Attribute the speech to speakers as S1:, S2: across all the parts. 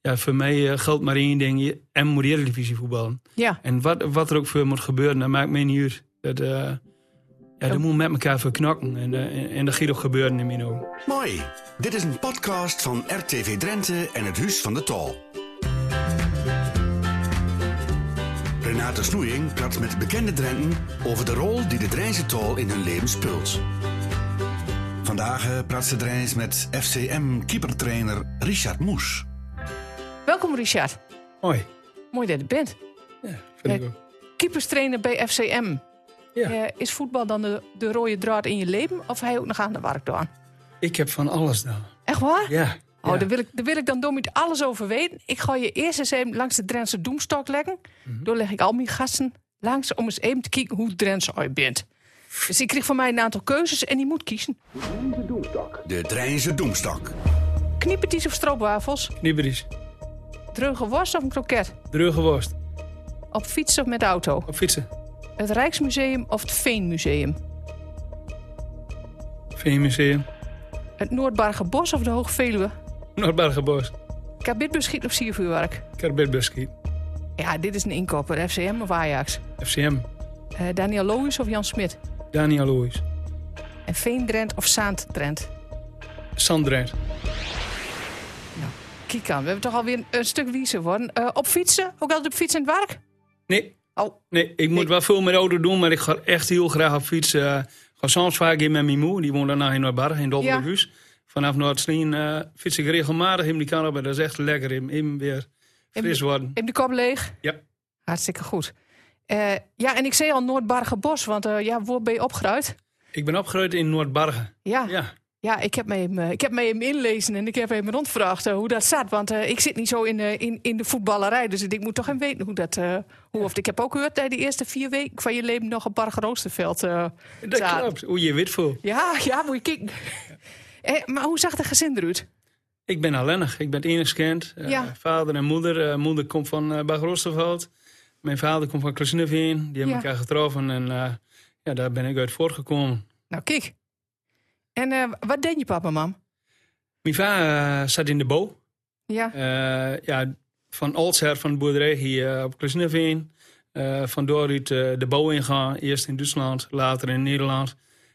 S1: ja, voor mij eh, geldt maar één ding. Je- En moet Eredivisie voetballen.
S2: Ja.
S1: En wat, wat er ook voor moet gebeuren, dat maakt mij niet uit. Dat, eh, ja, dat moet met elkaar voor knokken. En, eh, en, en dat gaat ook gebeuren in mijn ogen.
S3: Mooi. Dit is een podcast van RTV Drenthe en het Huis van de Tal. Renate Snoeing praat met bekende Drenten over de rol die de Drijnse Tal in hun leven speelt. Vandaag eh, praat ze Drijns met FCM-keepertrainer Richard Moes.
S2: Welkom Richard.
S1: Mooi.
S2: Mooi dat je er bent.
S1: Vind
S2: Ja.
S1: ik ook.
S2: Keeperstrainer bij FCM.
S1: Ja.
S2: Eh, is voetbal dan de, de rode draad in je leven? Of hij ook nog aan de werk dan?
S1: Ik heb van alles nou.
S2: Echt waar?
S1: Ja.
S2: Oh,
S1: ja.
S2: daar, wil ik, daar wil ik dan door met alles over weten. Ik ga je eerst eens even langs de Drentse Doemstok leggen.
S1: Mhm.
S2: Daar leg ik al mijn gasten langs om eens even te kijken hoe Drentse je bent. Dus ik kreeg van mij een aantal keuzes en die moet kiezen.
S3: De Drijnse Doemstak.
S2: Kniepertjes of stroopwafels?
S1: Knibberies.
S2: Dreuge worst of een kroket?
S1: Dreuge worst.
S2: Op fiets of met auto?
S1: Op fietsen.
S2: Het Rijksmuseum of het Veenmuseum?
S1: Veenmuseum.
S2: Het Noordbargenbos of de Hoogveluwe?
S1: Noordbergenbos.
S2: Kabitbeschiet of siervuurwerk?
S1: Karbetbuski.
S2: Ja, dit is een inkopper. FCM of Ajax?
S1: FCM.
S2: Eh, Daniel Loijs of Jan Smit?
S1: Daniel Lewis.
S2: En Veendrent of Zaandrent?
S1: Sandrent.
S2: Kijk aan, we hebben toch alweer een, een stuk wiezer worden. Eh, op fietsen? Ook altijd op fiets en het werk?
S1: Nee.
S2: Oh,
S1: Nee, ik moet
S2: Ik-
S1: wel veel met auto doen, maar ik ga echt heel graag op fietsen. Eh, Ik ga soms vaak in met mijn moeder, die woont daarna in Noordbarg, in Dobbelhuis. Vanaf Noordsleen eh fiets ik regelmatig in die kan op en dat is echt lekker. Even, even weer fris worden.
S2: in de kop leeg?
S1: Ja.
S2: Hartstikke goed. Eh, ja, en ik zei al Noordbargenbos, want eh, ja, waar ben je opgeruid?
S1: Ik ben opgegroeid in Noordbargen.
S2: Ja, ja.
S1: Ja,
S2: ik, heb me hem, eh, ik heb me hem inlezen en ik heb hem rondvraagd eh, hoe dat staat. Want eh, ik zit niet zo in, eh, in, in de voetballerij, dus ik denk, moet toch even weten hoe dat... eh, hoe, of, ik heb ook gehoord dat je de eerste vier weken van je leven nog op Bargen Roosterveld eh,
S1: dat
S2: zaten.
S1: klopt. Hoe je weet veel.
S2: Ja, ja, moet je kijken. Eh, maar hoe zag de gezin eruit?
S1: Ik ben alleenig. Ik ben het enigste kind. Eh,
S2: Ja.
S1: Vader en moeder. Eh, moeder komt van eh Bad Roosterveld. Mijn vader komt van Klasneveen. Die hebben
S2: Ja.
S1: elkaar getroffen en eh, ja, daar ben ik uit voortgekomen.
S2: Nou, kijk. En eh, wat deed je papa, mam?
S1: Mijn vader eh, zat in de bouw.
S2: Ja.
S1: Eh, ja, van oudsher van de boerderij hier eh, op Klusneveen. Eh vandoor uit eh, de bouw ingaan. Eerst in Duitsland, later in Nederland.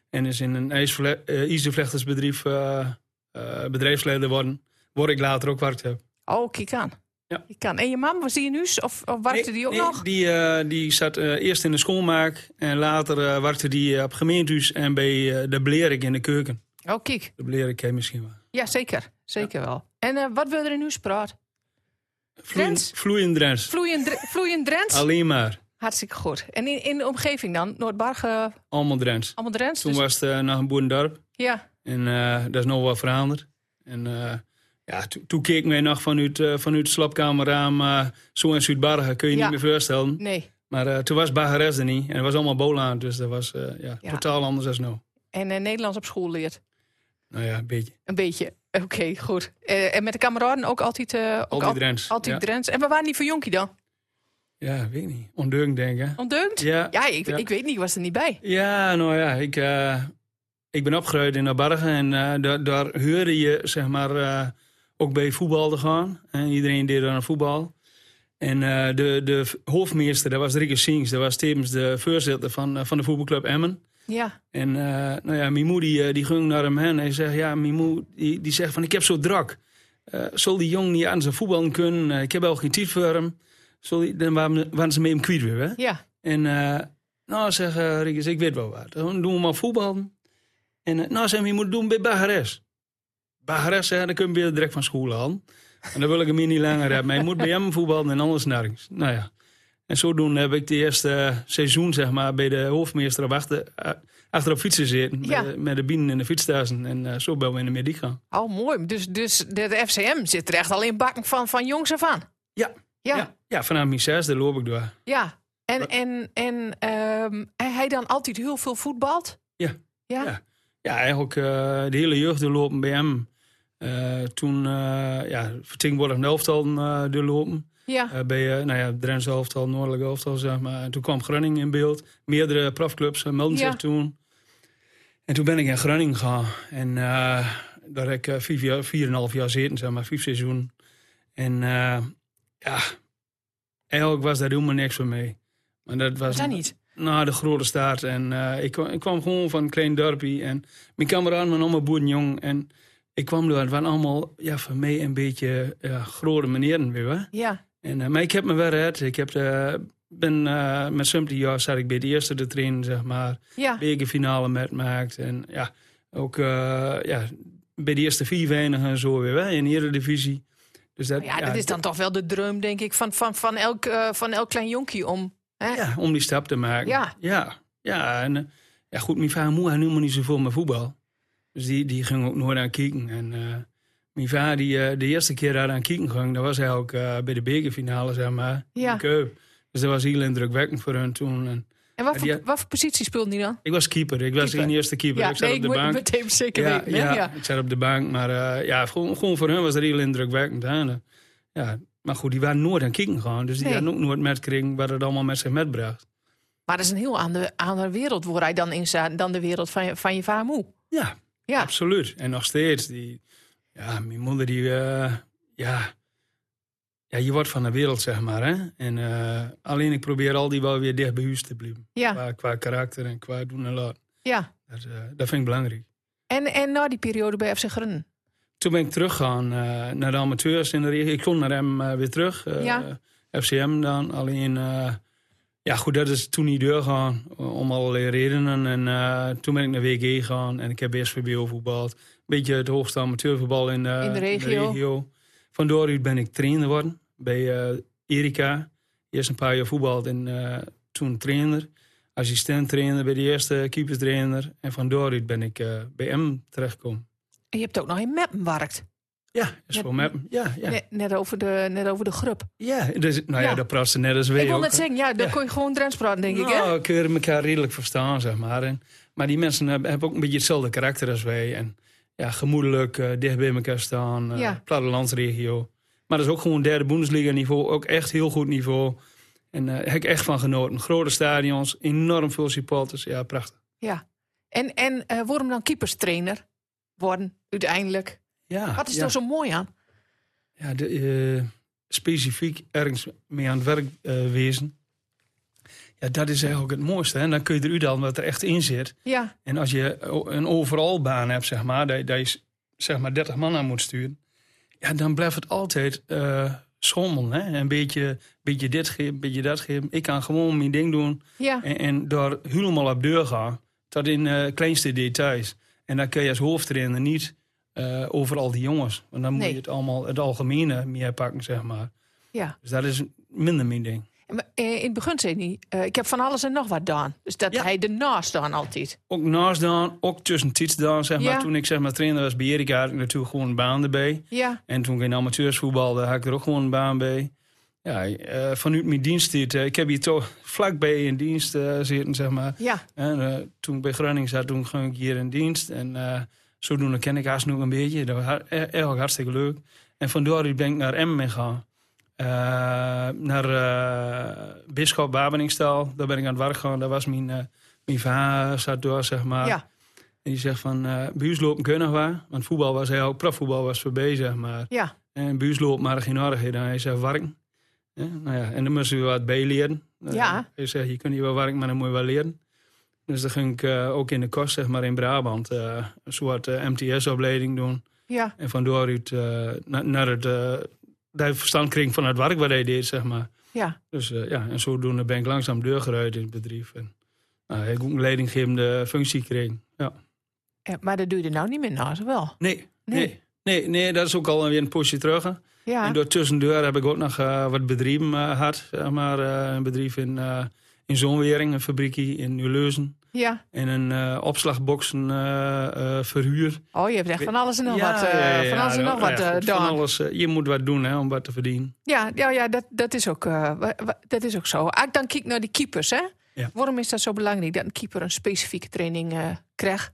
S1: En is in een ijsvle- eh, ijzervlechtersbedrijf eh, eh, bedrijfsleider worden. Waar ik later ook werkte. heb.
S2: Oh, kijk aan.
S1: Ja.
S2: Kijk aan. En je mam, was die in huis? Of, of werkte die ook
S1: Nee,
S2: nog?
S1: Die, eh, die zat eh, eerst in de schoonmaak. En later eh, werkte die op gemeentehuis en bij eh, de Blerik in de keuken.
S2: Oh, kijk.
S1: De Blerik ken je misschien wel.
S2: Ja, zeker. Zeker wel. En eh, wat wil er in huis praat?
S1: Vloeiend,
S2: Drents?
S1: vloeiend Drents.
S2: Vloeiend, Dre- vloeiend Drents?
S1: Alleen maar.
S2: Hartstikke goed. En in, in de omgeving dan? Noordbargen,
S1: Allemaal Drents.
S2: allemaal Drents?
S1: Toen
S2: Dus-
S1: was het eh, nog een boerendorp.
S2: ja.
S1: En eh, dat is nog wel veranderd. En eh, ja, to- toen keek mij nog vanuit, eh vanuit de slaapkamerraam. eh, zo in Zuid-Bargen kun je
S2: Ja.
S1: niet meer voorstellen.
S2: Nee.
S1: Maar eh, toen was Bargeres er niet. En het was allemaal Bolaan. Dus dat was eh, ja,
S2: Ja.
S1: totaal anders dan nou.
S2: En eh, Nederlands op school leert.
S1: Nou ja, een beetje.
S2: Een beetje. Oké, goed. Eh, en met de kameraden ook altijd... eh, ook
S1: Al die Drents.
S2: Altijd
S1: ja.
S2: Drents. En we waren niet voor jonkie dan?
S1: ja, weet ik niet. Ondeugend denken.
S2: Ondeugd?
S1: Ja, ja.
S2: Ja, ik,
S1: Ja.
S2: ik weet niet. Ik was er niet bij.
S1: nou ja. Ik, eh, ik ben opgegroeid in de Bargen. En eh, daar, daar huurde je, zeg maar, eh, ook bij voetbal te gaan. En iedereen deed dan voetbal. En eh, de, de hoofdmeester, dat was Rieke Sings, dat was tevens de voorzitter van, eh, van de voetbalclub Emmen.
S2: Ja.
S1: En eh, nou ja, Mimou die, eh, die ging naar hem heen en hij zegt, ja, Mimou die, die zegt van, ik heb zo drak. Eh zal die jong niet aan zijn voetballen kunnen? Eh, ik heb al geen tijd voor hem. Zal die, dan waren, waren ze mee hem kwijt weer, hè?
S2: Ja.
S1: En eh, nou, zeg eh Riekes, ik weet wel wat. Dan doen we maar voetbal. En eh, nou, zeg je moet het doen bij Bagares. Bagares, hè, dan kun je weer direct van school aan. En dan wil ik hem hier niet langer hebben. Maar je moet bij hem voetballen en anders nergens. Nou ja. En zodoende heb ik de eerste eh, seizoen, zeg maar, bij de hoofdmeester op achter, eh, achter op fietsen zitten.
S2: Ja.
S1: Met, de- met de bienen en de fietstassen. En eh, zo ben we in de mediek gaan.
S2: Oh, mooi. Dus, dus de, de FCM zit er echt al in bakken van, van jongs af aan.
S1: Ja.
S2: Ja, ja.
S1: Ja, ja vanaf mijn zesde loop ik door.
S2: En, en, en ehm, hij- hij dan altijd heel veel voetbalt?
S1: Ja.
S2: Ja?
S1: Ja. Ja, eigenlijk eh, de hele jeugd doorlopen bij hem. Eh, toen eh ja, vertegenwoordigd elftal eh doorlopen.
S2: Ja.
S1: Eh, bij eh, nou ja, Drentse elftal, Noordelijke elftal, zeg maar. En toen kwam Groningen in beeld. Meerdere profclubs eh, meldden
S2: Ja.
S1: zich toen. En toen ben ik in Groningen gegaan. En eh, daar heb ik eh, vier jaar- vier en een half jaar zitten, zeg maar, vijf seizoen. En eh, ja, eigenlijk was daar helemaal niks van mee. Maar dat was
S2: Dat niet.
S1: na de grote start. En eh, ik, kwam- ik kwam gewoon van een klein dorpje. En mijn kameraden waren allemaal boerenjong. En ik kwam door. Het waren allemaal ja, voor mij een beetje ja, grote manieren weer. hè.
S2: Ja.
S1: En, eh, maar ik heb me wel red. Ik heb de, ben, eh, met 17 jaar zat ik bij de eerste de train, zeg maar.
S2: Ja.
S1: Bekerfinale met maakt. En ja, ook eh, ja, bij de eerste vier weinigen en zo weer. Hè, in de Eredivisie. Dus dat,
S2: ja, dat is dan toch wel de dreum, denk ik, van, van, van, elk, eh, van elk klein jonkie om. Hè?
S1: Ja, om die stap te maken.
S2: Ja.
S1: Ja, ja en eh, ja, goed, mijn vader en moeder had helemaal niet zoveel met voetbal. Dus die, die ging ook nooit aan kieken. En eh, mijn vader, die eh, de eerste keer daar aan kieken ging, dat was eigenlijk eh, bij de bekerfinale, zeg maar.
S2: Ja.
S1: in Keup. Dus dat was heel indrukwekkend voor hun toen. En
S2: En wat
S1: Ja,
S2: voor,
S1: die-
S2: wat voor positie speelde hij dan?
S1: ik was keeper, ik was
S2: Keeper.
S1: geen eerste keeper. ik zat
S2: nee,
S1: op de
S2: moet
S1: bank.
S2: meteen zeker
S1: ja,
S2: weten. hè?
S1: ja,
S2: Ja.
S1: ik zat op de bank. Maar eh, ja, gewoon, gewoon voor hun was dat heel indrukwekkend. Hè. En, eh, Ja, maar goed, die waren nooit aan kieken gewoon. Dus die
S2: Nee.
S1: hadden ook nooit metkregen wat het allemaal met zich metbracht.
S2: Maar dat is een heel andere, andere wereld waar hij dan in zat dan de wereld van je, van je vader en moe.
S1: Ja,
S2: Ja.
S1: absoluut. En nog steeds. Die, ja, mijn moeder die... eh, ja, ja, je wordt van de wereld, zeg maar. Hè? En, eh, alleen ik probeer al die wel weer dicht bij huis te blijven.
S2: Ja,
S1: Qua, qua karakter en qua doen en laten.
S2: ja.
S1: Dat, eh, dat vind ik belangrijk.
S2: En, en na die periode bij FC Groningen.
S1: Toen ben ik teruggegaan eh, naar de amateurs in de regio. Ik kon naar hem eh, weer terug. eh,
S2: Ja.
S1: FCM dan. Alleen, eh, ja goed, dat is toen niet doorgegaan. eh, Om allerlei redenen. En eh, toen ben ik naar WG gegaan. En ik heb eerst VBO voetbald. beetje het hoogste amateurvoetbal in de,
S2: In de regio.
S1: Van daaruit ben ik trainer geworden. Bij eh Erika. Eerst een paar jaar voetbald en eh, toen trainer. Assistent trainer bij de eerste keeperstrainer. En van daaruit ben ik eh, bij M terechtgekomen.
S2: En je hebt ook nog in Meppen gewerkt.
S1: Ja, dat is
S2: Ja.
S1: voor mij. Ja, ja.
S2: Net, net over de, net over de grup.
S1: ja. Dus, nou ja,
S2: Ja.
S1: dat praat ze net als wij
S2: ik wil
S1: ook.
S2: net zeggen, ja, dan
S1: Ja.
S2: kon je gewoon Drents praten, denk ik, hè?
S1: Nou, kun je elkaar redelijk verstaan, zeg maar. En, maar die mensen hebben, hebben ook een beetje hetzelfde karakter als wij. En ja, gemoedelijk, eh, dicht bij elkaar staan. eh
S2: Ja.
S1: Plattelandsregio. Maar dat is ook gewoon derde Bundesliga niveau. Ook echt heel goed niveau. En eh, daar heb ik echt van genoten. Grote stadions, enorm veel supporters. Ja, prachtig.
S2: Ja. En, en eh waarom dan keeperstrainer worden, uiteindelijk?
S1: Ja,
S2: Wat is
S1: Ah, ja.
S2: daar zo mooi aan?
S1: ja, de, eh, specifiek ergens mee aan het werk eh, wezen. Ja, dat is eigenlijk het mooiste. hè. En dan kun je er u dan wat er echt in zit.
S2: Ja,
S1: En als je o- een overal baan hebt, zeg maar, dat je- dat je s- zeg maar 30 man aan moet sturen. Ja, dan blijft het altijd eh schommelen. Hè? Een beetje, beetje dit geven, een beetje dat geven. Ik kan gewoon mijn ding doen.
S2: ja.
S1: En, en daar helemaal op deur gaan. Tot in eh kleinste details. En dan kun je als hoofdtrainer niet eh overal die jongens. Want dan moet
S2: Nee.
S1: je het allemaal het algemene meer pakken, zeg maar.
S2: ja.
S1: Dus dat is minder mijn ding.
S2: En maar, eh, in het begin zei hij, eh, ik heb van alles en nog wat gedaan. Dus dat
S1: Ja.
S2: hij ernaast dan altijd.
S1: Ook naast dan, ook tussen tiets dan, zeg maar.
S2: Ja.
S1: Toen ik zeg maar trainer was bij Erika, had ik natuurlijk gewoon een baan erbij.
S2: Ja,
S1: En toen ik in amateursvoetbal, daar had ik er ook gewoon een baan bij. Ja, eh, vanuit mijn dienst dit. eh, ik heb hier toch vlakbij in dienst eh, zitten, zeg maar.
S2: ja.
S1: En, eh, toen ik bij Groningen zat, toen ging ik hier in dienst. En eh, zodoende ken ik Haas nog een beetje. Dat was har- e- eigenlijk hartstikke leuk. En vandoor ben ik naar Emmen gegaan. Eh, naar eh Bisschop Wabeningstaal. Daar ben ik aan het werk gegaan. Daar was mijn, eh mijn vader zat door, zeg maar.
S2: Ja.
S1: En die zegt van, eh buuslopen kunnen we. Want voetbal was hij ook, profvoetbal was voorbij, zeg maar.
S2: Ja,
S1: En buusloop maar geen aardigheid. Hij zei warken. Ja, nou ja, en dan moesten we wat bij leren.
S2: Ja.
S1: Eh, Hij zei, je kunt hier wel werken, maar dan moet je wel leren. Dus dan ging ik eh, ook in de kost, zeg maar, in Brabant... eh, een soort MTS-opleiding doen.
S2: ja.
S1: En van daaruit eh, na- naar het... eh dat verstand kreeg van het werk wat hij deed, zeg maar.
S2: ja.
S1: Dus eh, ja, en zodoende ben ik langzaam deurgeruid in het bedrijf. En nou, heb ik ook een leidinggevende functie gekregen. Ja.
S2: Eh, Maar dat duurde nou niet meer naast, wel?
S1: Nee,
S2: Nee.
S1: nee. nee. Nee, dat is ook alweer een postje terug. hè.
S2: Ja,
S1: En door tussendoor heb ik ook nog eh, wat bedrijven eh, gehad. Zeg maar, eh, een bedrijf in, eh in Zonwering, een fabriekje in Uleuzen.
S2: ja.
S1: En een eh, opslagboxen eh, eh, verhuur.
S2: Oh, je hebt echt van alles en nog wat, eh,
S1: ja, ja,
S2: van alles en
S1: ja,
S2: nog
S1: ja,
S2: wat
S1: goed,
S2: eh,
S1: van
S2: gedaan.
S1: alles, eh, Je moet wat doen hè, om wat te verdienen.
S2: Ja, ja, ja dat, dat, is ook, eh, wa- wa- dat is ook zo. Als ik dan kijk naar die keepers, hè?
S1: Ja.
S2: Waarom is dat zo belangrijk dat een keeper een specifieke training eh, krijgt?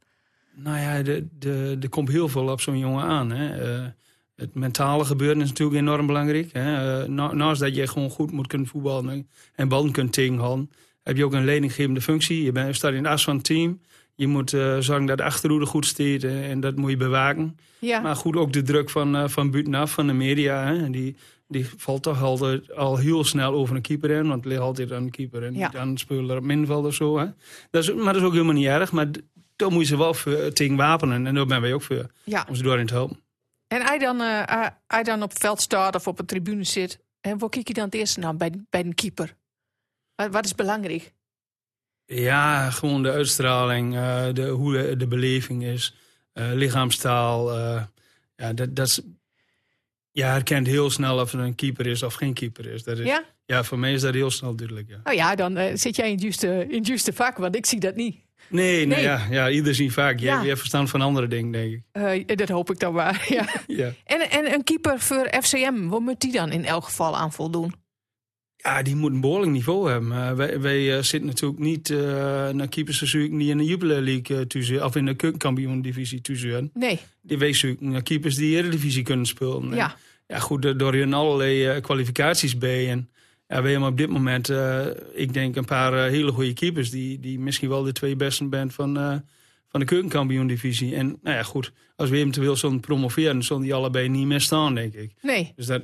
S1: Nou ja, er de, de, er komt heel veel op zo'n jongen aan. Hè. Eh, het mentale gebeuren is natuurlijk enorm belangrijk. Hè. Eh, na- naast dat je gewoon goed moet kunnen voetballen en- en ballen kunt tegenhouden... heb je ook een leidinggevende functie. Je bent, staat in de as van het team. Je moet eh, zorgen dat de achterhoede goed steekt eh, en dat moet je bewaken.
S2: Ja.
S1: Maar goed, ook de druk van, eh, van buitenaf, van de media. Hè, die, die valt toch altijd al heel snel over een keeper heen. Want het ligt altijd aan de keeper. En
S2: Ja.
S1: dan spelen er op minveld of zo. Hè. Dat is, maar dat is ook helemaal niet erg. Maar d- daar moet je ze wel voor, eh, tegen wapenen. En daar ben wij ook voor.
S2: ja.
S1: Om ze daarin te helpen.
S2: En hij dan, eh, hij- hij dan op het veld staat of op een tribune zit. En waar kijk je dan het eerste naar bij, bij een keeper? Wat, wat is belangrijk?
S1: Ja, gewoon de uitstraling, eh, de, hoe de, de beleving is, eh, lichaamstaal. eh, ja, dat, dat is, je herkent heel snel of het een keeper is of geen keeper is. Dat is ja?
S2: Ja?
S1: voor mij is dat heel snel duidelijk. Ja.
S2: Nou ja, dan eh, zit jij in het juiste, in het juiste vak, want ik zie dat niet.
S1: Nee, nee.
S2: Nee.
S1: ja, ja, ieder ziet vaak. Je,
S2: Ja.
S1: hebt, je hebt verstand van andere dingen, denk ik.
S2: Eh, dat hoop ik dan maar. Ja.
S1: Ja,
S2: En, en een keeper voor FCM, wat moet die dan in elk geval aan voldoen?
S1: ja die moet een behoorlijk niveau hebben. Eh, wij wij eh, zitten natuurlijk niet eh, naar keepers te zoeken die in de Jubilee League eh, toe zitten, of in de keukenkampioen-divisie toe zitten.
S2: Nee,
S1: Die wij zoeken naar keepers die Eredivisie kunnen spelen. En
S2: ja.
S1: Ja, goed, daar- door hun allerlei eh, kwalificaties bij. En ja, we hebben op dit moment, eh, ik denk, een paar eh, hele goede keepers. Die, die misschien wel de twee besten bent van, eh, van de keukenkampioen-divisie. En nou ja, goed, als we eventueel zullen promoveren, zullen die allebei niet meer staan, denk ik.
S2: Nee,
S1: Dus dat,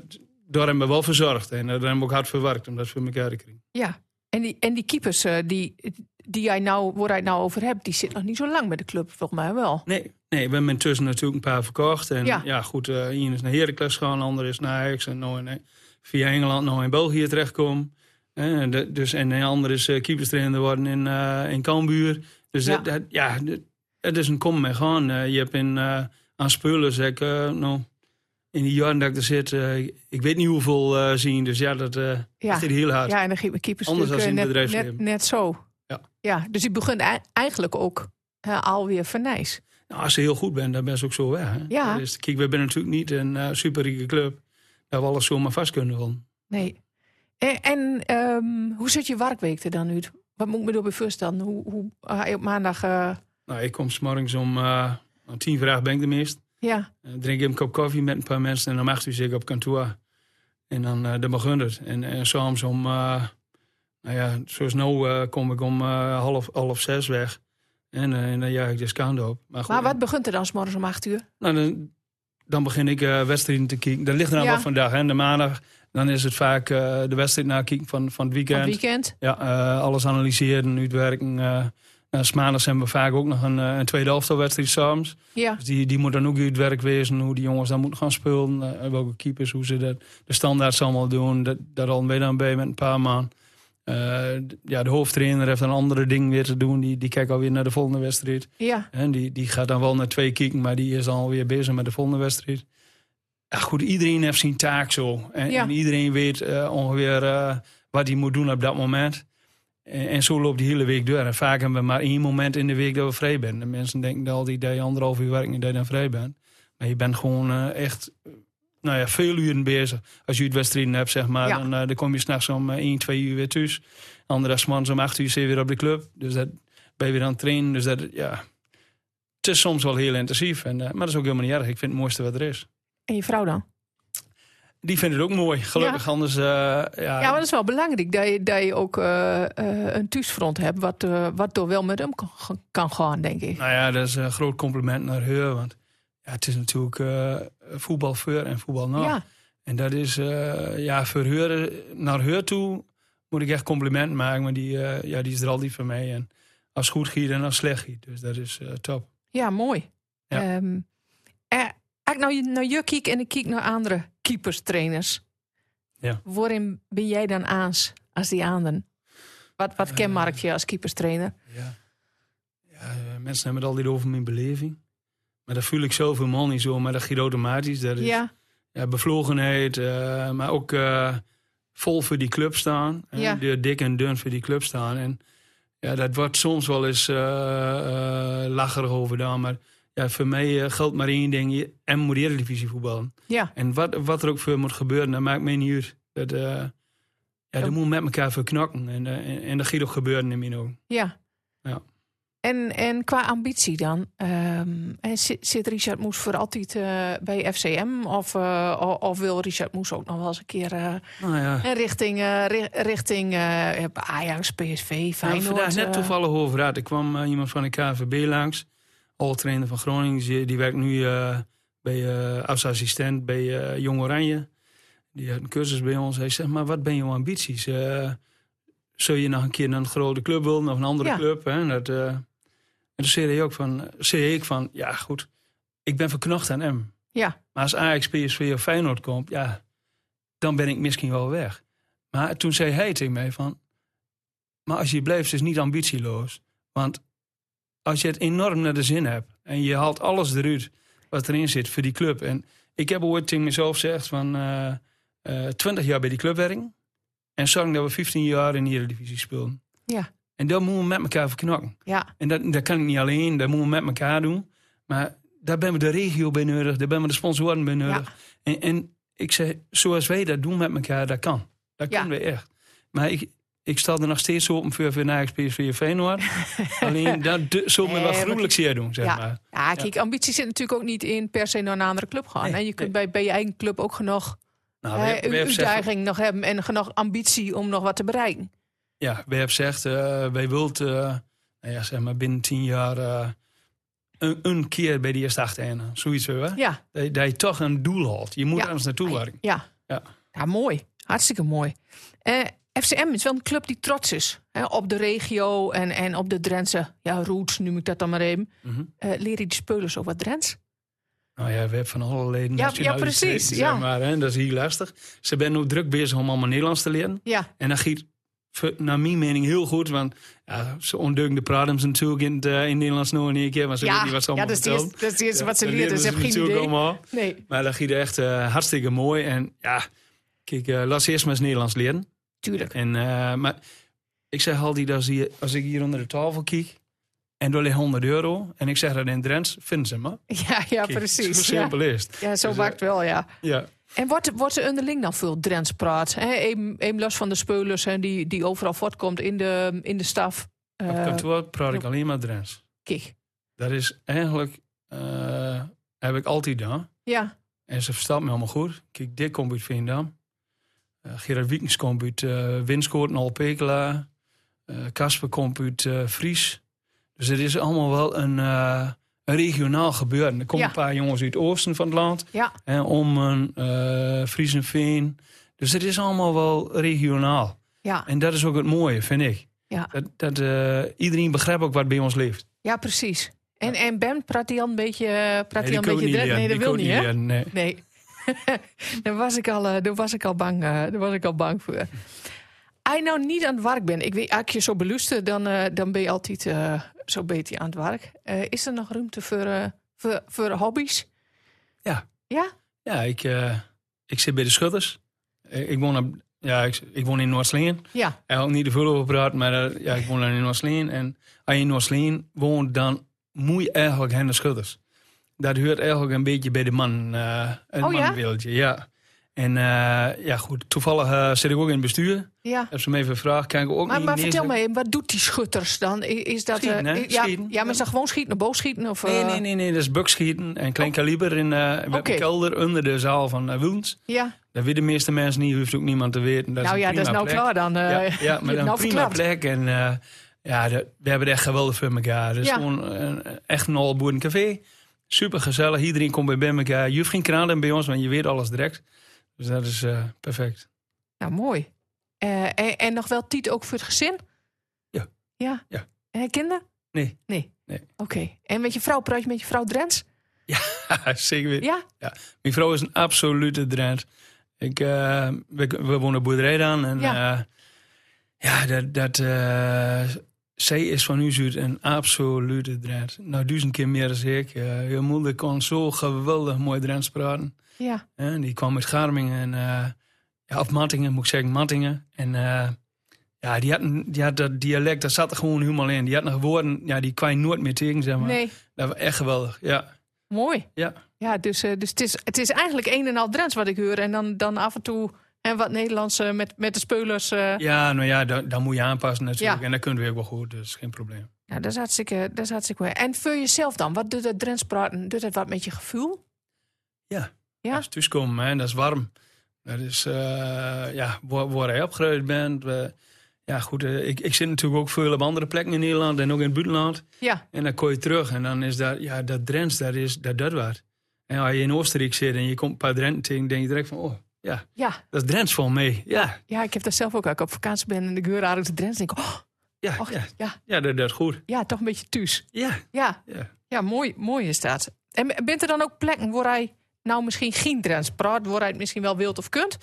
S1: daar hebben we wel verzorgd. En eh, daar hebben we ook hard voor gewerkt om dat voor elkaar te krijgen.
S2: ja. En die, en die keepers eh, die, die jij nou, waar jij het nou over hebt, die zit nog niet zo lang bij de club, volgens mij wel.
S1: Nee, nee we hebben intussen natuurlijk een paar verkocht. En
S2: Ja.
S1: ja, goed, eh één is naar Heracles gegaan, ander is naar Ajax. En nou in, eh, via Engeland nou in België terechtkomen. En, de, dus, en een ander is eh, keeperstrainer worden in, eh, in Cambuur. Dus
S2: Ja.
S1: dat, dat- ja, dat- het is een komen en gaan. Eh, je hebt in, eh, aan spullen, zeg ik, eh, nou, in die jaren dat ik er zit, eh, ik- ik weet niet hoeveel eh, zien. Dus ja, dat eh
S2: Ja,
S1: is dit heel hard.
S2: ja en dan geeft mijn keepers
S1: Anders dan
S2: natuurlijk,
S1: in het
S2: eh, net, net,
S1: bedrijfsleven.
S2: net zo.
S1: Ja.
S2: ja, dus die begint ei- eigenlijk ook eh, alweer van Nijs.
S1: Nou, als ze heel goed bent, dan ben ze ook zo weg. Hè?
S2: Ja.
S1: Dat is- kijk, we zijn natuurlijk niet een eh superrieke club. Dat we alles zomaar vast kunnen van.
S2: Nee. En, en ehm, hoe zit je werkweek er dan uit? Wat moet ik me erbij voorstellen? Hoe, hoe hij op maandag... eh,
S1: Nou, ik kom s'morgens om eh, om tien vraag ben ik de meest.
S2: ja,
S1: Dan drink ik een kop koffie met een paar mensen en om acht uur zit ik op kantoor. En dan, eh dan begint het. En, en soms om, eh, nou ja, zoals nu eh, kom ik om eh, half, half zes weg. En, eh, en dan jaag ik de scan op. goed,
S2: maar wat begint er dan s'morgens om acht uur?
S1: Nou, dan, dan begin ik eh, wedstrijden te kijken. Dat ligt eraan
S2: Ja.
S1: wat vandaag. Hè. De maandag, dan is het vaak eh, de wedstrijd nakijken van, van het
S2: Van
S1: weekend.
S2: het weekend?
S1: Ja, eh, alles analyseren, uitwerken. eh nou, 's maandags hebben we vaak ook nog een, eh, een tweede helftwedstrijd soms.
S2: Ja.
S1: Dus die, die moet dan ook uit werk wezen, hoe die jongens dan moeten gaan spelen. eh, welke keepers, hoe ze dat, de standaards allemaal doen. Dat, daar al weer dan bij met een paar man. Eh, d- ja, de hoofdtrainer heeft een andere ding weer te doen. Die, die kijkt alweer naar de volgende wedstrijd.
S2: Ja.
S1: En die, die gaat dan wel naar twee kieken, maar die is dan alweer bezig met de volgende wedstrijd. Ja, goed, iedereen heeft zijn taak zo. En,
S2: Ja.
S1: en iedereen weet eh, ongeveer eh, wat hij moet doen op dat moment. En, en zo loopt die hele week door. En vaak hebben we maar één moment in de week dat we vrij zijn. De mensen denken dat al die dag anderhalf uur werken en dat je dan vrij bent. Maar je bent gewoon eh, echt eh, nou ja, veel uren bezig. Als je het wedstrijden hebt, zeg maar,
S2: Ja.
S1: dan, eh, dan kom je s'nachts om eh, 1, 2 uur weer thuis. Andere morgens om 8 uur zit je weer op de club. Dus dat ben je weer aan het trainen. Dus dat, ja, het is soms wel heel intensief. En, eh, maar dat is ook helemaal niet erg. Ik vind het mooiste wat er is.
S2: En je vrouw dan?
S1: Die vindt het ook mooi, gelukkig. Anders, eh, ja,
S2: Ja, maar dat is wel belangrijk dat je, dat je ook eh, eh, een thuisfront hebt, wat, eh, wat door wel met hem kan, kan gaan, denk ik.
S1: nou ja, dat is een groot compliment naar haar. Want ja, het is natuurlijk eh voetbal voor en voetbal na.
S2: Ja,
S1: En dat is, eh, ja, voor haar, eh, naar haar toe moet ik echt compliment maken. Maar die, eh, ja, die is er altijd van mij. En als goed giet en als slecht giet. Dus dat is eh, top.
S2: ja mooi.
S1: Ja.
S2: Ehm, eh, als ik nou naar je kijk en ik kijk naar andere keeperstrainers,
S1: Ja.
S2: waarin ben jij dan aans als die anderen? Wat, wat
S1: Eh,
S2: kenmerkt je als keeperstrainer?
S1: Ja. Ja, eh, mensen hebben het altijd over mijn beleving. Maar dat voel ik zelf helemaal niet zo. Maar dat giet automatisch. Dat is,
S2: Ja,
S1: ja, bevlogenheid, eh, maar ook eh, vol voor die club staan. Eh,
S2: Ja.
S1: de dik en dun voor die club staan. En ja, dat wordt soms wel eens eh eh, lacherig overdaan. Maar ja, voor mij eh, geldt maar één ding. je- En moet Eredivisie voetballen.
S2: ja,
S1: En wat, wat er ook voor moet gebeuren, dat maakt mij niet uit. Dat, eh, ja, dat moet met elkaar verknakken. En, eh, en, en dat gaat ook gebeuren in mijn ogen.
S2: ja.
S1: Ja.
S2: En, en qua ambitie dan? ehm, en zit, zit Richard Moes voor altijd eh, bij FCM? Of, eh, o- of wil Richard Moes ook nog wel eens een keer eh,
S1: Nou ja,
S2: en richting, eh, ri- richting eh, Ajax, PSV,
S1: we hebben
S2: Feyenoord?
S1: Nou, vandaag net
S2: eh,
S1: toevallig over gehad. Er kwam eh, iemand van de KVB langs. Oud-trainer van Groningen. Die, die werkt nu eh, bij, eh als assistent bij eh, Jong Oranje. Die had een cursus bij ons. Hij zegt, maar wat ben je ambities? Eh, zul je nog een keer naar een grote club willen? Of een andere
S2: Ja.
S1: club? Hè? En Dat, eh, en toen zei, hij ook van, zei ik van, ja goed. Ik ben verknocht aan hem.
S2: Ja,
S1: Maar als Ajax, PSV of Feyenoord komt, ja, dan ben ik misschien wel weg. Maar toen zei hij tegen mij van, maar als je blijft is het niet ambitieloos. Want als je het enorm naar de zin hebt en je haalt alles eruit wat erin zit voor die club. En ik heb ooit tegen mezelf gezegd van eh, eh, 20 jaar bij die club werken. En zorg dat we 15 jaar in de Eredivisie spelen.
S2: ja,
S1: En dat moeten we met elkaar verknakken.
S2: ja.
S1: En dat, dat kan ik niet alleen, dat moeten we met elkaar doen. Maar daar ben we de regio bij nodig, daar ben we de sponsoren bij nodig. En, en ik zeg, zoals wij dat doen met elkaar, dat kan. Dat
S2: Ja.
S1: kunnen we echt. Maar ik, ik sta er nog steeds open voor voor Ajax, PSV en Feyenoord. alleen dat de- zullen we
S2: Nee,
S1: wel
S2: maar
S1: gruwelijk zeer doen, zeg
S2: ja.
S1: maar.
S2: ja, kijk, ambitie zit natuurlijk ook niet in per se naar een andere club gaan.
S1: Nee,
S2: en je kunt bij, bij je eigen club ook genoeg
S1: Nou,
S2: eh,
S1: Werf-
S2: een
S1: Werf zegt-
S2: uitdaging nog hebben en genoeg ambitie om nog wat te bereiken.
S1: Ja, Werf zegt, eh, wij wilt eh, nou ja, zeg maar binnen tien jaar eh, een, een keer bij de eerste acht eindigen. Zoiets, hoor.
S2: Ja,
S1: Dat, je- dat je toch een doel had. Je moet
S2: Ja.
S1: ergens naartoe werken.
S2: ja.
S1: Ja.
S2: ja mooi. Hartstikke mooi. Eh, FCM is wel een club die trots is hè, op de regio en, en op de Drentse ja, roots, noem ik dat dan maar even.
S1: Mhm.
S2: Eh, leren die spelers ook wat Drents?
S1: Nou ja, we hebben van alle leden
S2: Ja,
S1: nationaliteiten,
S2: ja, precies,
S1: zeg
S2: ja.
S1: maar, hè. Dat is heel lastig. Ze zijn ook druk bezig om allemaal Nederlands te leren.
S2: Ja,
S1: En dat giet ver- naar mijn mening heel goed. Want ja, ze ontduiken de Pradams natuurlijk in het, eh, in het Nederlands nog een keer. Want ze weten
S2: ja.
S1: niet wat ze
S2: ja
S1: allemaal
S2: dat is
S1: vertellen.
S2: het eerste, dat is het eerste
S1: Ja,
S2: wat ze
S1: dat
S2: leren. Dus ze hebben geen
S1: natuurlijk
S2: idee.
S1: allemaal.
S2: Nee.
S1: Maar dat giet echt eh, hartstikke mooi. En ja, kijk, eh laat ze eerst maar eens Nederlands leren.
S2: Tuurlijk.
S1: En, eh, maar ik zeg altijd, als, hier, als ik hier onder de tafel kijk... en daar ligt 100 euro... en ik zeg dat in Drents, vinden ze me.
S2: Ja, ja
S1: Kijk, Zo
S2: precies. Ja,
S1: simpel is het.
S2: ja zo
S1: Dus,
S2: maakt wel, ja.
S1: Ja.
S2: En wordt, wordt er onderling dan veel Drents praat? Hè, Even, even los van de speulers hè, die, die overal voortkomt in de, in de staf. Eh,
S1: Op kantoor praat ik alleen maar Drents.
S2: kijk.
S1: Dat is eigenlijk, eh, heb ik altijd gedaan.
S2: Ja,
S1: En ze verstaat me allemaal goed. Kijk, Dick komt uit Veendam. Eh, Gerard Wiekens komt uit eh Winskoort, Nol Pekela. Eh, Casper komt uit eh, Fries. Dus het is allemaal wel een, eh, een regionaal gebeuren. Er komen
S2: Ja.
S1: een paar jongens uit het oosten van het land.
S2: ja,
S1: Hè, Ommen, eh Fries en Veen. Dus het is allemaal wel regionaal.
S2: ja,
S1: En dat is ook het mooie, vind ik.
S2: ja,
S1: Dat, dat eh, iedereen begrijpt ook wat bij ons leeft.
S2: ja, precies. En, en Ben, praat hij al een beetje, eh, praat
S1: Nee,
S2: hij
S1: die
S2: al
S1: kan
S2: een
S1: ik
S2: beetje
S1: niet
S2: Drents? Nee, dat
S1: leren.
S2: wil
S1: Die kan
S2: niet,
S1: ik
S2: hè?
S1: leren, nee.
S2: Nee. daar, was ik al, eh, daar was ik al bang, eh, daar was ik al bang voor. Als je nou niet aan het werk bent, ik weet, als ik je zo beluister, dan, eh, dan ben je altijd eh, zo beter aan het werk. Eh, is er nog ruimte voor, eh, voor, voor hobby's?
S1: Ja.
S2: Ja?
S1: Ja, ik, eh, ik zit bij de Schutters. Eh, Ik, ik woon, op, ja, ik, ik woon in Noordslingen.
S2: Ja.
S1: Hij had niet te veel over praten, maar eh, ja, ik woon dan in Noordslingen. En als je in Noordslingen woont, dan moet je eigenlijk naar de Schutters. Dat hoort eigenlijk een beetje bij de man, eh het
S2: Oh ja?
S1: manwereldje, ja. En eh, ja, goed, toevallig eh, zit ik ook in het bestuur.
S2: ja.
S1: Heb ze me even gevraagd, kan ik ook
S2: Maar,
S1: niet...
S2: maar
S1: nee
S2: vertel
S1: zeggen.
S2: me, even, wat doet die schutters dan? I- Is dat, eh,
S1: Schieten, hè?
S2: i- ja,
S1: Schieten.
S2: ja, maar is dat gewoon schieten, naar boos schieten? Of,
S1: Nee,
S2: eh, Oh.
S1: nee, nee, nee, dat is bukschieten en klein kaliber in eh, we hebben
S2: Oké.
S1: een kelder onder de zaal van uh,
S2: Ja.
S1: Dat weten de meeste mensen niet, hoeft ook niemand te weten. Dat
S2: nou
S1: is een
S2: ja, dat is
S1: prima
S2: nou
S1: plek.
S2: klaar dan. eh,
S1: Ja,
S2: je
S1: ja, maar
S2: hebt
S1: dan prima
S2: nou verklapt.
S1: plek. En eh, ja, de- we hebben het echt geweldig voor elkaar. Het is
S2: Ja.
S1: gewoon een, echt een allboerencafé. Super gezellig. Iedereen komt bij- bij elkaar. Je hoeft geen kraan bij ons, want je weet alles direct. Dus dat is eh, perfect.
S2: Nou, mooi. Eh, en, en nog wel tiet ook voor het gezin?
S1: Ja.
S2: Ja?
S1: Ja.
S2: En kinderen?
S1: Nee.
S2: Nee.
S1: Nee.
S2: Oké. En met je vrouw, praat je met je vrouw Drents?
S1: Zeker weten.
S2: Ja?
S1: Mijn vrouw is een absolute drent. Ik, eh, we, we wonen op boerderij dan. En,
S2: Ja.
S1: ja. ja, dat... dat eh, zij is van u zuid een absolute drent. Nou, duizend keer meer dan ik. Eh, je moeder kon zo geweldig mooi Drents praten.
S2: Ja.
S1: Hè, die kwam uit Garmingen en eh, ja, of Mattingen, moet ik zeggen, Mattingen. En eh, ja, die had, een- die had dat dialect, dat zat er gewoon helemaal in. Die had nog woorden, ja, die kwam je nooit meer tegen, zeg maar.
S2: Nee.
S1: Dat was echt geweldig, ja.
S2: Mooi.
S1: Ja,
S2: Ja, dus, eh, dus het, is, het is eigenlijk een en al Drents wat ik hoor. En dan, dan af en toe en wat Nederlands eh, met, met de speulers. eh,
S1: ja nou ja, dat, dat moet je aanpassen natuurlijk.
S2: Ja.
S1: En dat kunnen we ook wel goed, dus geen probleem.
S2: Nou, dat is hartstikke, dat is hartstikke mooi. En voor jezelf dan, wat doet dat Drents praten? Doet dat wat met je gevoel?
S1: Ja.
S2: Ja?
S1: Als je thuiskomt, hè, dat is warm. Dat is, eh, ja, waar, waar je opgegroeid bent. We- ja, goed, eh, ik, ik zit natuurlijk ook veel op andere plekken in Nederland en ook in het buitenland.
S2: Ja,
S1: En dan kom je terug en dan is daar, ja, dat Drents, dat is dat, dat wat. En als je in Oostenrijk zit en je komt een paar Drenten tegen, denk je direct van, oh, ja,
S2: ja.
S1: dat is Drents voor mee. Ja,
S2: ja, ik heb dat zelf ook. Als ik op vakantie ben en ik hoor aardig de Drents, denk ik, oh,
S1: ja,
S2: och,
S1: ja,
S2: ja,
S1: ja, dat, dat is goed.
S2: ja, toch een beetje thuis.
S1: Ja,
S2: Ja,
S1: ja.
S2: ja mooi, mooi is dat. En bent er dan ook plekken waar hij nou misschien geen Drents praat, waar hij het misschien wel wilt of kunt?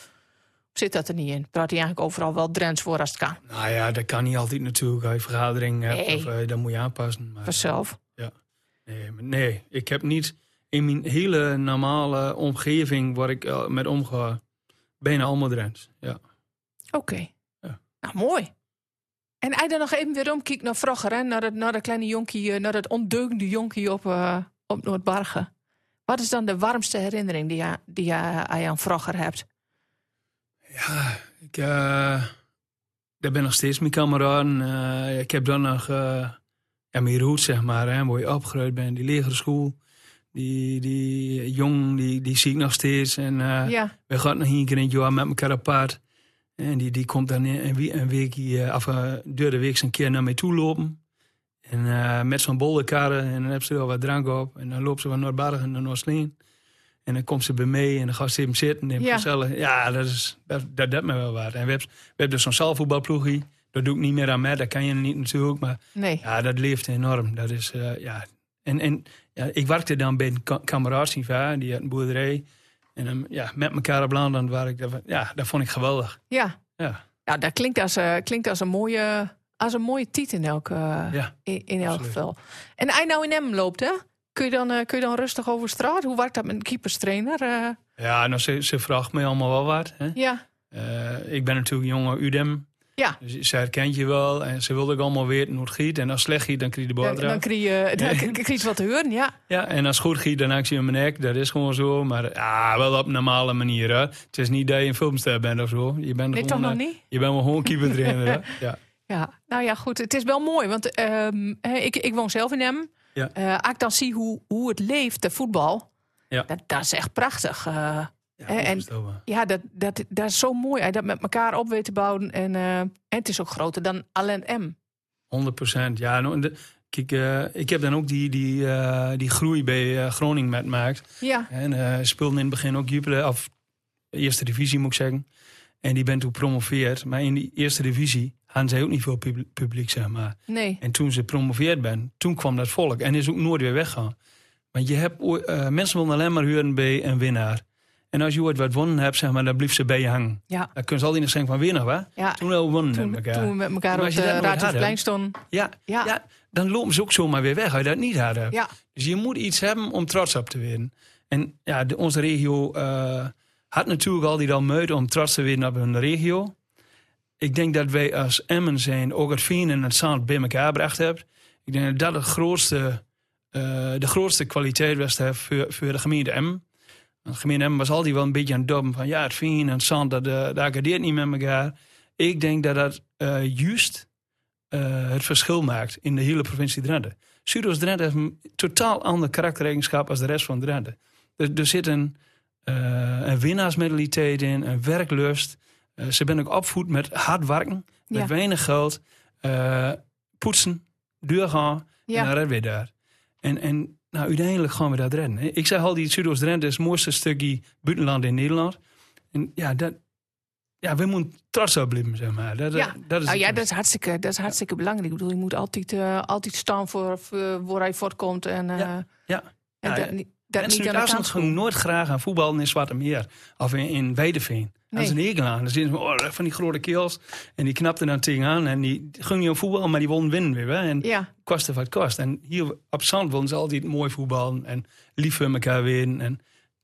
S2: Of zit dat er niet in? Praat hij eigenlijk overal wel Drents voor als het kan?
S1: Nou ja, dat kan niet altijd natuurlijk. Als je vergadering hebt,
S2: Nee.
S1: of, eh, dan moet je aanpassen. Maar,
S2: Vanzelf.
S1: nee, maar nee, ik heb niet in mijn hele normale omgeving waar ik eh, met omga, bijna allemaal Drents. Ja.
S2: Oké.
S1: Ja.
S2: Nou, mooi. En hij dan nog even weer omkijkt naar vroeger, hè? Naar, dat, naar dat kleine jonkie, eh, naar dat ondeugende jonkie op, eh, op Noordbargen. Wat is dan de warmste herinnering die je, die je, hij aan vroeger hebt?
S1: Ja, ik, eh, daar ben nog steeds mijn kameraden. Eh, ik heb dan nog eh, ja, mijn roots, zeg maar, hè, waar je opgegroeid bent. Die legere school, die, die jong, die, die zie ik nog steeds. En eh,
S2: ja,
S1: we gaan nog een keer in het jaar met elkaar apart. En die, die komt dan een, wie- een week, hier, of eh, door de week een keer naar mij toe lopen. En eh, met zo'n bolderkarren. En dan hebben ze wel wat drank op. En dan loopt ze van Noordbargen naar Noordsleen. En dan komt ze bij mij en dan gaat ze even zitten. En
S2: Ja.
S1: ja. gezellig. Ja, dat is, dat, dat deed me wel wat. En we hebben, we hebben dus zo'n zaalvoetbalploegie. Dat doe ik niet meer aan mij. Dat kan je niet natuurlijk. Maar
S2: nee.
S1: ja, dat leeft enorm. Dat is, eh, ja. En, en ja, ik werkte dan bij een ka- kameraad, zien van haar, die had een boerderij. En dan, ja, met elkaar op Land waar ik, ja, dat vond ik geweldig.
S2: Ja.
S1: Ja,
S2: Nou, dat klinkt als, eh, klinkt als een mooie, als een mooie titel in elk, eh,
S1: ja.
S2: in, in elk
S1: absoluut.
S2: geval. En hij nou in hem loopt, hè? Kun je dan, eh, kun je dan rustig over straat? Hoe werkt dat met een keeperstrainer? eh?
S1: ja nou, ze, ze vraagt mij allemaal wel wat. Hè.
S2: ja,
S1: Eh, ik ben natuurlijk jonge Udem.
S2: Ja.
S1: Dus ze herkent je wel. En ze wilde ook allemaal weten hoe het giet. En als het slecht giet, dan krijg je de bal
S2: dan, dan
S1: eraf.
S2: krijg je, dan krijg je wat te horen, ja.
S1: Ja, en als het goed giet, dan hang ik ze in mijn nek. Dat is gewoon zo. Maar ja, wel op een normale manier. Hè. Het is niet dat je een filmster bent of zo. Je bent
S2: Nee,
S1: gewoon,
S2: toch nog
S1: eh,
S2: niet?
S1: Je bent wel gewoon keeper trainer. hè. Ja.
S2: Ja, nou ja, goed. Het is wel mooi, want ehm, hè, ik, ik woon zelf in hem.
S1: Ja.
S2: als ik dan zie hoe, hoe het leeft, de voetbal,
S1: Ja.
S2: dat, dat is echt prachtig. Eh,
S1: Ja,
S2: Eh, en-
S1: onvoorstelbaar.
S2: ja, dat, dat, dat is zo mooi. Hij dat met elkaar op weet te bouwen. En, eh, en het is ook groter dan alleen M.
S1: 100%. Ja, nou, en de- kijk, eh, ik heb dan ook die, die, eh, die groei bij eh, Groningen metmaakt.
S2: Ja,
S1: En eh speelde in het begin ook Jupiler, of eerste divisie moet ik zeggen. En die ben toen gepromoveerd. Maar in die eerste divisie hadden zij ook niet veel pub- publiek, zeg maar.
S2: nee.
S1: En toen ze promoveerd ben, toen kwam dat volk. En is ook nooit weer weggegaan. Want je hebt, ooit- eh, mensen willen alleen maar huren bij een winnaar. En als je ooit wat wonnen hebt, zeg maar, dan blijf ze bij je hangen.
S2: Ja,
S1: Dan kun ze altijd nog zeggen van weer nog, wat?
S2: ja.
S1: Toen wel wonnen
S2: Toen,
S1: met elkaar.
S2: toen we met elkaar
S1: Maar
S2: op
S1: als je dat
S2: de
S1: nooit
S2: Raadhuisplein
S1: had,
S2: stonden.
S1: Ja,
S2: Ja.
S1: ja. dan lopen ze ook zomaar weer weg als je dat niet hadden.
S2: Ja,
S1: Dus je moet iets hebben om trots op te worden. En ja, de- onze regio eh, had natuurlijk al die dan meuten om trots te worden op hun regio. Ik denk dat wij als Emmen zijn ook het veen en het zand bij elkaar gebracht hebben. Ik denk dat dat het grootste, eh, de grootste kwaliteit was hè, voor, voor de gemeente Emmen. Want de gemeente Emmen was altijd wel een beetje aan het dobben van... ja, het veen en het zand, dat, eh, dat accordeert niet met elkaar. Ik denk dat dat eh, juist eh, het verschil maakt in de hele provincie Drenthe. Zuidoost-Drenthe heeft een totaal ander karaktereigenschap als de rest van Drenthe. Er, er zit een, eh, een winnaarsmentaliteit in, een werklust. Eh, ze ben ook opvoed met hard werken,
S2: Ja.
S1: met weinig geld. eh, poetsen, doorgaan, en
S2: ja.
S1: dan redden we daar. En, en nou, uiteindelijk gaan we dat redden. Ik zei al, die Zuidoost-Drenthe is het mooiste stukje buitenland in Nederland. En ja, dat, ja we moeten trots op blijven, zeg maar. Dat,
S2: Ja.
S1: dat is
S2: Nou ja,
S1: het.
S2: dat is hartstikke, dat is hartstikke belangrijk. Ik bedoel, je moet altijd, eh, altijd staan voor, voor waar hij voortkomt. En, eh,
S1: Ja, ja.
S2: en
S1: Ja,
S2: dat,
S1: ja.
S2: niet- dat
S1: Mensen
S2: niet aan
S1: uit
S2: de
S1: Duitsland
S2: kant
S1: gaan nooit graag aan voetballen in Zwarte Meer. Of in, in Weideveen. Dat is een hekel aan. Dan zien ze oh, van die grote keels. En die knapten dan tegenaan. En die gingen niet om voetbal, maar die won winnen weer. hè. En
S2: Ja.
S1: kosten wat kost. En hier op Zand willen ze altijd mooi voetballen. En lief voor elkaar winnen. En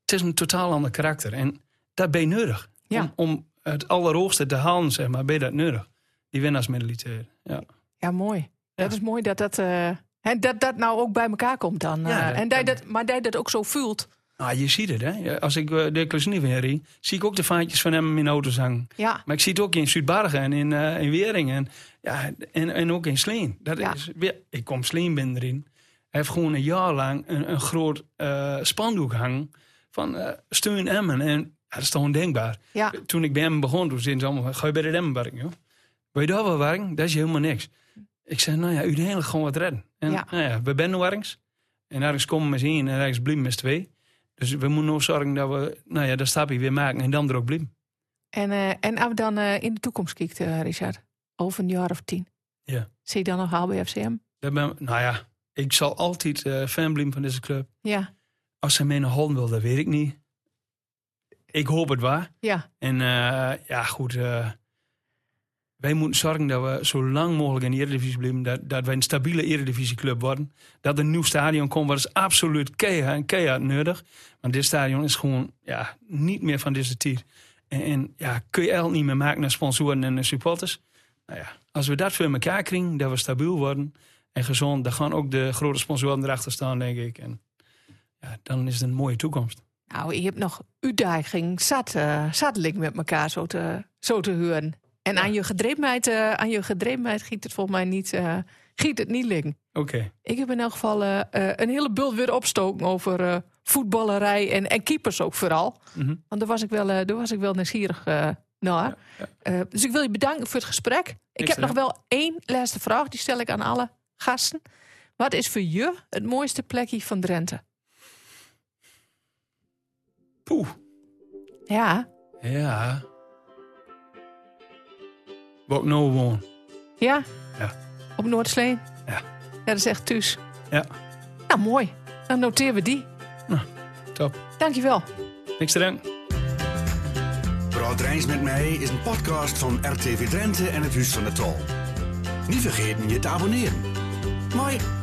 S1: het is een totaal ander karakter. En dat ben je nodig.
S2: Ja.
S1: Om, om het allerhoogste te halen, zeg maar, ben je dat nodig. Die winnaarsmentaliteit. Ja.
S2: Ja, mooi.
S1: Ja.
S2: Dat is mooi dat dat, eh, hè, dat dat nou ook bij elkaar komt dan.
S1: Ja,
S2: eh,
S1: dat
S2: en dat, je
S1: kan.
S2: dat, maar dat je dat ook zo voelt.
S1: Nou, je ziet het, hè. Als ik eh, de klassiek weer zie, zie ik ook de vaantjes van hem in auto's hangen.
S2: Ja.
S1: Maar ik zie het ook in Zuidbargen en in, eh, in Weringen. En, ja, en, en ook in Sleen. Dat
S2: Ja.
S1: is weer, ik kom Sleen binnen erin. Hij heeft gewoon een jaar lang een, een groot eh, spandoek hangen van eh, steun Emmen. En ja, dat is toch ondenkbaar.
S2: Ja.
S1: Toen ik bij hem begon, toen zeiden ze allemaal, ga je bij de Emmen werken, joh? Wil je daar wel werken? Dat is helemaal niks. Ik zei, nou ja, uiteindelijk gewoon wat redden. En
S2: Ja.
S1: nou ja, we zijn nu ergens. En ergens komen we eens één en ergens blijven we eens twee. Dus we moeten nog zorgen dat we, nou ja, dat stapje weer maken en dan er ook blijven.
S2: En, eh, en als we dan eh, in de toekomst kijkt, eh, Richard, over een jaar of tien,
S1: Ja.
S2: zie je dan nog halen bij FCM?
S1: Dat ben- nou ja, ik zal altijd eh fan blijven van deze club.
S2: Ja,
S1: Als ze mij naar Holland wil, dat weet ik niet. Ik hoop het waar.
S2: ja,
S1: En eh, ja, goed. eh, wij moeten zorgen dat we zo lang mogelijk in de Eredivisie blijven. Dat, dat wij een stabiele Eredivisieclub worden. Dat er een nieuw stadion komt, wat is absoluut keihard en keihard nodig. Want dit stadion is gewoon ja, niet meer van deze tijd. En, en ja, kun je eigenlijk niet meer maken naar sponsoren en naar supporters. Nou ja, als we dat voor elkaar krijgen, dat we stabiel worden en gezond, dan gaan ook de grote sponsoren erachter staan, denk ik. En ja, dan is het een mooie toekomst.
S2: nou, je hebt nog uitdaging, zat, eh, zat link met elkaar zo te, zo te huren. En aan je gedrevenheid, eh, aan je gedrevenheid giet het volgens mij niet, eh, giet het niet link.
S1: Oké.
S2: Ik heb in elk geval eh, eh, een hele bult weer opstoken over eh, voetballerij en, en keepers ook vooral.
S1: Mhm.
S2: Want daar was ik wel, eh, daar was ik wel nieuwsgierig eh, naar. Eh, dus ik wil je bedanken voor het gesprek. Ik
S1: Niks
S2: heb nog
S1: gedaan.
S2: wel één laatste vraag, die stel ik aan alle gasten. Wat is voor je het mooiste plekje van Drenthe?
S1: Poeh.
S2: Ja,
S1: Ja. Wat nou woon.
S2: ja?
S1: Ja.
S2: Op Noordsleen?
S1: Ja.
S2: Ja, dat is echt thuis.
S1: Ja.
S2: Nou, mooi. Dan noteren we die.
S1: Top.
S2: Dankjewel.
S1: Niks te danken.
S3: Praat Rijns met mij is een podcast van RTV Drenthe en het Huis van de Tal. Niet vergeten je te abonneren. Mooi.